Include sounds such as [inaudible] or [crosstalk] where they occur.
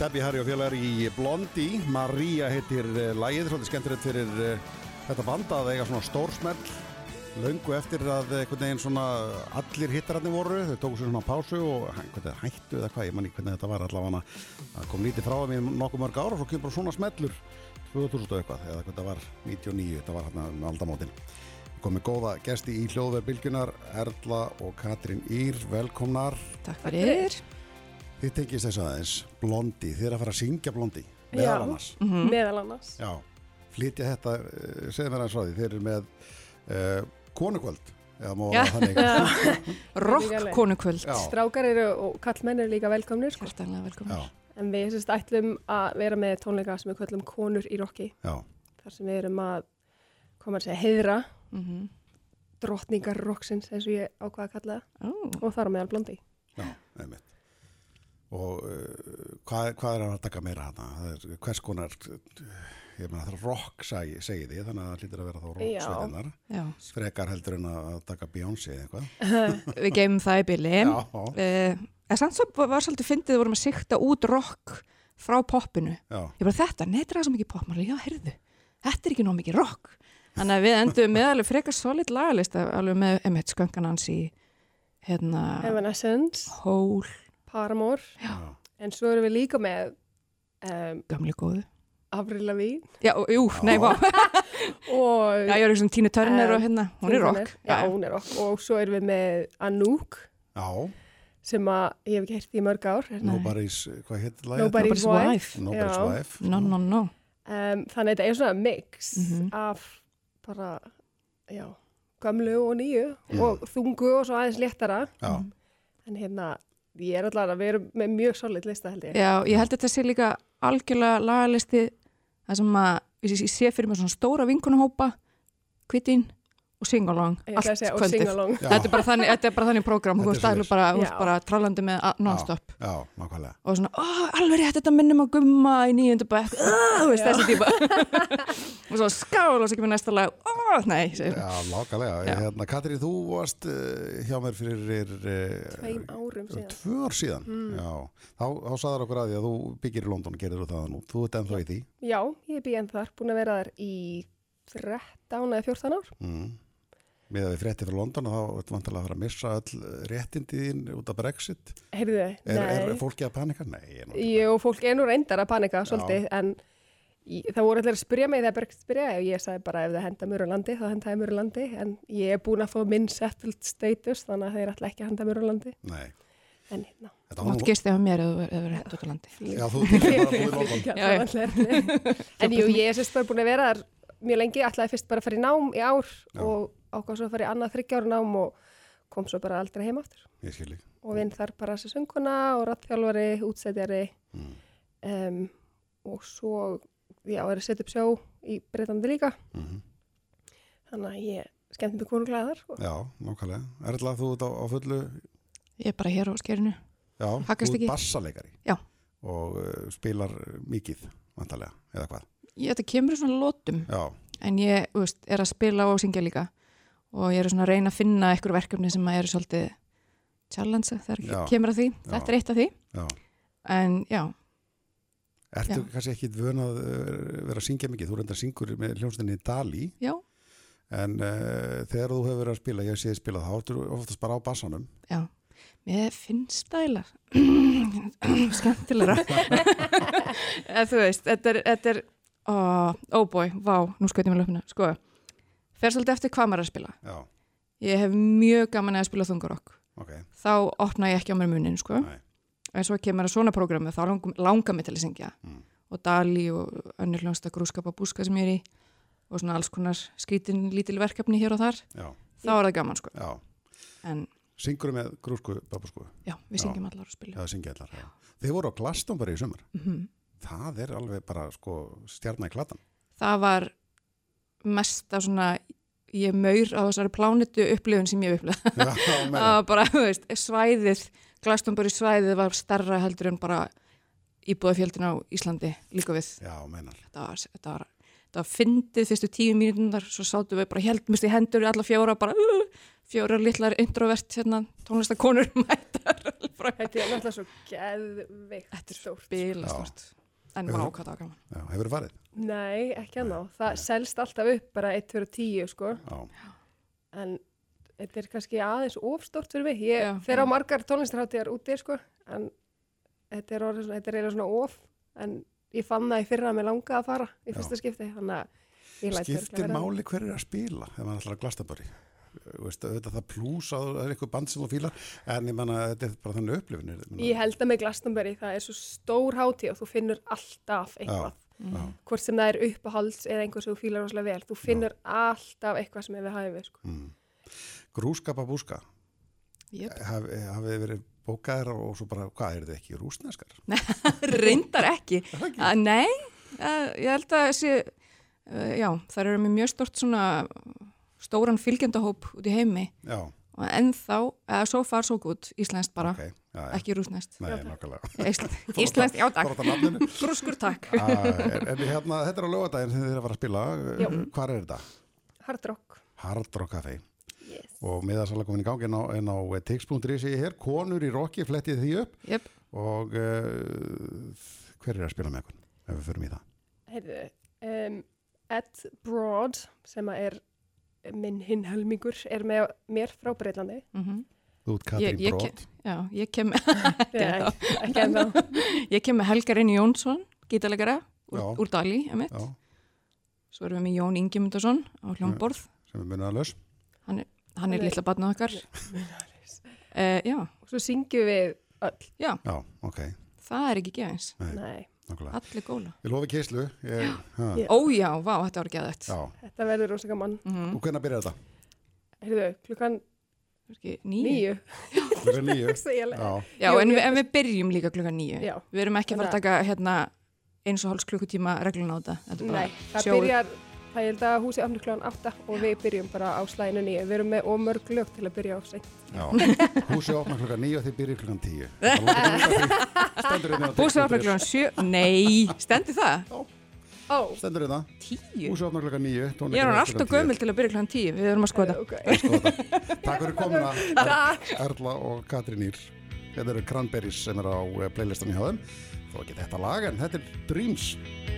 Debbie Harry og félagar í Blondi Maria heitir uh, lægið svolítið skemmtilegt fyrir uh, þetta band að eiga svona stórsmell löngu eftir að eh, einhvern veginn svona allir hittararnir voru, þau tóku sér svona pásu og hæ- hvernig hættu eða hvað, ég manni hvernig þetta var allavega að kom lítið frá mér nokkuð mörg ár og svo kemur bara svona smellur 2000 og eitthvað, eða hvernig þetta var 99, þetta var hérna með aldamótin komið góða gesti í hljóðverð Bilgjunar Erla og Katrín Ír velkomnar, Takk fyrir. þið tengist þess aðeins Blondi, þið er að fara að syngja Blondi Já. meðal annars meðal annars Já, flytja þetta, eh, segðu mér aðeins frá því, þeir eru með uh, konukvöld, eða má Já. orða þannig. Rokk konukvöld. Já. Strákar eru og kallmenn eru líka velkomnir sko. Hjartanlega velkomin. Já, en við sérst ætlum að vera með tónleika sem við kallum konur í rocki já, þar sem við erum að koma að segja heiðra Mm -hmm. drottningar rocksins eins og ég ákvaða að kalla það og þar á meðal blondi já, einmitt. Og uh, hvað, hvað er hann að taka meira hana? Það er Hvers konar, eh, ég meina það er rock segi, segi því, þannig að það lítur að vera þá Já. rocksveitinnar. Já. Frekar heldur en að að taka Beyoncé eða eitthvað. Við geymum það í bili. Já, Uh, en samt svo var svolítið fyndið við vorum að sikta út rokk frá poppinu. já, Ég bara þetta, neitra það svo mikið popp. Maður, já, heyrðu, þetta er ekki nóg mikið rokk. Þannig að við endum með alveg frekar solid lagalist alveg með emitt sköngan hans í hérna Evanescence, hól, Paramore já, en svo erum við líka með um, gamli góðu. Avril Lavigne Já, og- jú, nei, [laughs] vá. og Já, ég er ekki svona Tínu Törnir Eh, og hérna, hún er rokk. já, hún er rock og svo erum við með Anouk já, sem að ég hef ekki heyrt í mörg ár hérna. nobody's, hvað heitir lagið? Nobody- Nobody's Wife. wife. Nobody's Já. wife. No, no, no. um, þannig að þetta er svona mix Mhm. af bara já, gamlu og nýju og þungu og svo aðeins léttara Já, en hérna, ég er allavega við erum með mjög solid lista held ég Já, ég held að þetta sé líka algjörlega lagalisti það sem að, ég, ég sé fyrir mér svona stóra vinkunahópa, kvittin og singalong, Ég allt ætla að segja, og kvöldið. singalong Já. Þetta er bara þannig, þetta er bara þannig prógram, Þetta þú er veist, það er svoleiðis. bara, þú Já. veist, bara trallandi með a- non-stop já, nákvæmlega. og svona, ó, alveg rétt, þetta minnum að gumma í nýjöndu bekk, "Ah", þú veist, þessi típa [laughs] og svo skál og svo kemur næsta lag, ó, nei, segir hún. Já, lákalega. Já. Hérna, Katrín, þú varst uh, hjá mér fyrir uh, tveim árum síðan Mm. tvö ár síðan. Já, þá, þá saðar okkur að því að þú byggir í London, gerir þú það nú. Þú ert ennþá í því. já, ég býð enn þar, búin að vera þar í 13 eða 14 ár Mm. Með að við fréttir frá London þá ertu vantilega að fara að missa öll eh, réttindi þín út af Brexit. heyrðu þið, Er, er nei fólki að panika? Nei, ég er nú ekki. Jú, fólk er nú reyndar að panika svolítið, en í- það voru allir að spyrja mig þegar Berg spyrjaði og ég sagði bara ef það henda mjög á landi, þá henda ég mjög á landi en ég er búin að fá minn settled status þannig að þeir ætla ekki að henda mjög á landi Nei. en hérna, Þetta Þú var mátt nú... gistið á mér eða þú verður hægt út á landi [laughs] Já, þú ert ekki bara að búið í London. Ekki að Já, fara já. allir. [laughs] en jú, ég er sérst bara búin að vera þar mjög lengi, ætlaði fyrst bara að fara í nám í ár Já. og ákvað svo að fara í annað þryggjára nám og kom svo bara aldrei heim aftur Ég skil ekki. og vinn þar bara sem sönguna og rattþjálfari, útsetjari Mm. um, og svo já, er að setja upp sjó í Breitlandi líka Mhm. þannig að ég skemmt mér konunglega þar sko. Já, nákvæmlega. Erla, þú ert á, á fullu... Ég er bara hér á skerinu Já, Haggast þú ert ekki. bassaleikari. Já. Og uh, spilar mikið, vantilega, eða hvað. Ég, þetta kemur í svona lótum Já, en ég þú veist, er að spila og syngja líka og ég er svona að reyna að finna einhver verkefni sem að eru svolítið challenge þegar Já. kemur að því, Já. þetta er eitt af því já. en já, Ertu kannski ekki vön að uh, vera að syngja mikið? Þú reyndar syngur með hljómsveitinni Dali já, en uh, þegar þú hefur verið að spila, ég séð spilað þá ertu oftast bara á bassanum. já mér finnst stælar [clears throat] [laughs] skemmtilegra eða þú veist, þetta er, þetta er ó, oh boy, vá, nú skautum við löpuna sko, fer svolítið eftir hvað maður er að spila Já, ég hef mjög gaman að spila þungarokk ok. þá opna ég ekki á mér munin sko. Nei. en svo kemur að svona prógrami þá lang, langar mig til að syngja Mm. og Dali og önnur hljónsta grúskapa búska sem ég er í og svona alls konar skrítin lítil verkefni hér og þar Já, þá er það gaman sko já. en Syngur með grúsku, babusku, já, við syngjum allar og spilum eða syngja allar. Já. Þið voru á glastum bara í sumar. mm Það er alveg bara sko stjarnar í klatan. [laughs] það var mesta svona ég maur á þessari plánitu upplifun sem ég hef upplifað Já, [laughs] það meira. var bara, þú veist, svæðið Glastonbury svæðið var starra heldur en bara íbúðafjöldin á Íslandi líka við já, meinar. þetta var, þetta var, þetta var fyndið fyrstu tíu mínútunar, svo sátum við bara heldmust í hendur við alla fjóra, bara uh, fjóra litlar introvert hérna, tónlistakonur [laughs] mættar alveg frá Þetta er náttúrulega svo geðveikt Þetta er stórt. bila Já. stort en Hefur maður þú- ákvæða á gaman Já, hefur farið? Nei, ekki að ná. Það selst alltaf upp bara 1 fyrir 10 sko. Já, En þetta er kannski aðeins ofstort fyrir mig. Ég Já, fer já. á margar tónlistarháttíðar úti sko. En þetta er, orðið, svona- þetta er eiginlega svona of. En ég fann það í fyrra að mér langaði að fara í Já. fyrsta skipti. Þannig að ég læt örugglega skiptir vera. máli hver er að spila ef maður ætlar að glastabari veist, auðvitað það plús að það er eitthvað band sem þú fílar en ég manna þetta er bara þannig upplifin Ég held að með Glastonbury það er svo stór hátíð og þú finnur alltaf eitthvað. já, Hvort sem það er uppahalds eða einhver sem þú fílar rosalega vel. Þú finnur alltaf eitthvað sem er við hæfi sko. mm. grúskapa búska Jöp. haf, hafið verið bókaðar og svo bara, hvað er þetta ekki, rúsneskar? [laughs] reyndar ekki Er það ekki? að, nei, að, ég held að þessi uh, já, þær eru með mjög stort svona stóran fylgjandahóp út í heimi Já, og ennþá, eða so far so good íslenskt bara, ok, já, já. Ah. ekki rúsnest Nei, nákvæmlega [laughs] Ísl- íslenskt, já takk Fór út af [laughs] nafninu. grúskur takk Ah, en, en hérna, þetta er á lögadaginn sem þið er að fara að spila Já. Hvar er þetta? Hard rock. Hard Rock Café Yes. og miðasala komin í gangi en á, en á tix.is ég hér, konur í rocki, flettið því upp Jöp. og uh, hver er að spila með okkur ef við förum í það Heyrðu, um, Ed Broad sem að er minn hinn helmingur er með mér frá Breitlandi. Mhm. þú ert Katrín Ég- ég Brótt já, ég kem Nei, [laughs] ekki en [laughs] þá. Ég kem með Helgarin Jónsson, gítalegara, úr, Já. úr Dali, emitt. já, Svo erum við með Jón Ingemundarsson á hljómborð, sem er munaðalös hann er Hann er- litla barnið okkar. Uh, já, Og svo syngjum við öll. já, ok, það er ekki gefins. Nei. Nei, nákvæmlega Allir góla. ég lofi keislu ég, ha, Já. Ó já, vá, þetta var geðvægt. já. þetta verður rosa gaman. Mm, og hvernig byrjar þetta? Heyrðu, klukkan nýju. nýju. Fyrir [laughs] nýju hugsa ég alveg. já, Já, Jú, en, ég- við, en við byrjum líka klukka nýju. Já. Við erum ekki að fara að taka hérna eins og hálfs klukkutíma reglun á þetta. Þetta er bara Nei, það sjóið. byrjar, það ég held að húsi afnur klukkan átta og við byrjum bara á slæðinu nýju. Við erum með ómörg lög til að byrja á sig. já. húsið opna klokkan nýju og þið byrjir klokkan tíu [laughs] Það lókar út af því. stendur hérna á Búsið opna tix.is. klukkan sjö. Nei, stendur það? Ó, stendur hérna, Tíu? húsið opna klukkan nýju Ég er hann alltaf gömul til að byrja klukkan tíu. Við erum að skoða. ok. Sko, takk fyrir komuna [laughs] Takk. Erla og Katrín Ír Þetta eru Cranberries sem er á eh, playlistan í höfðum Þó ekki þetta lag en þetta er Dreams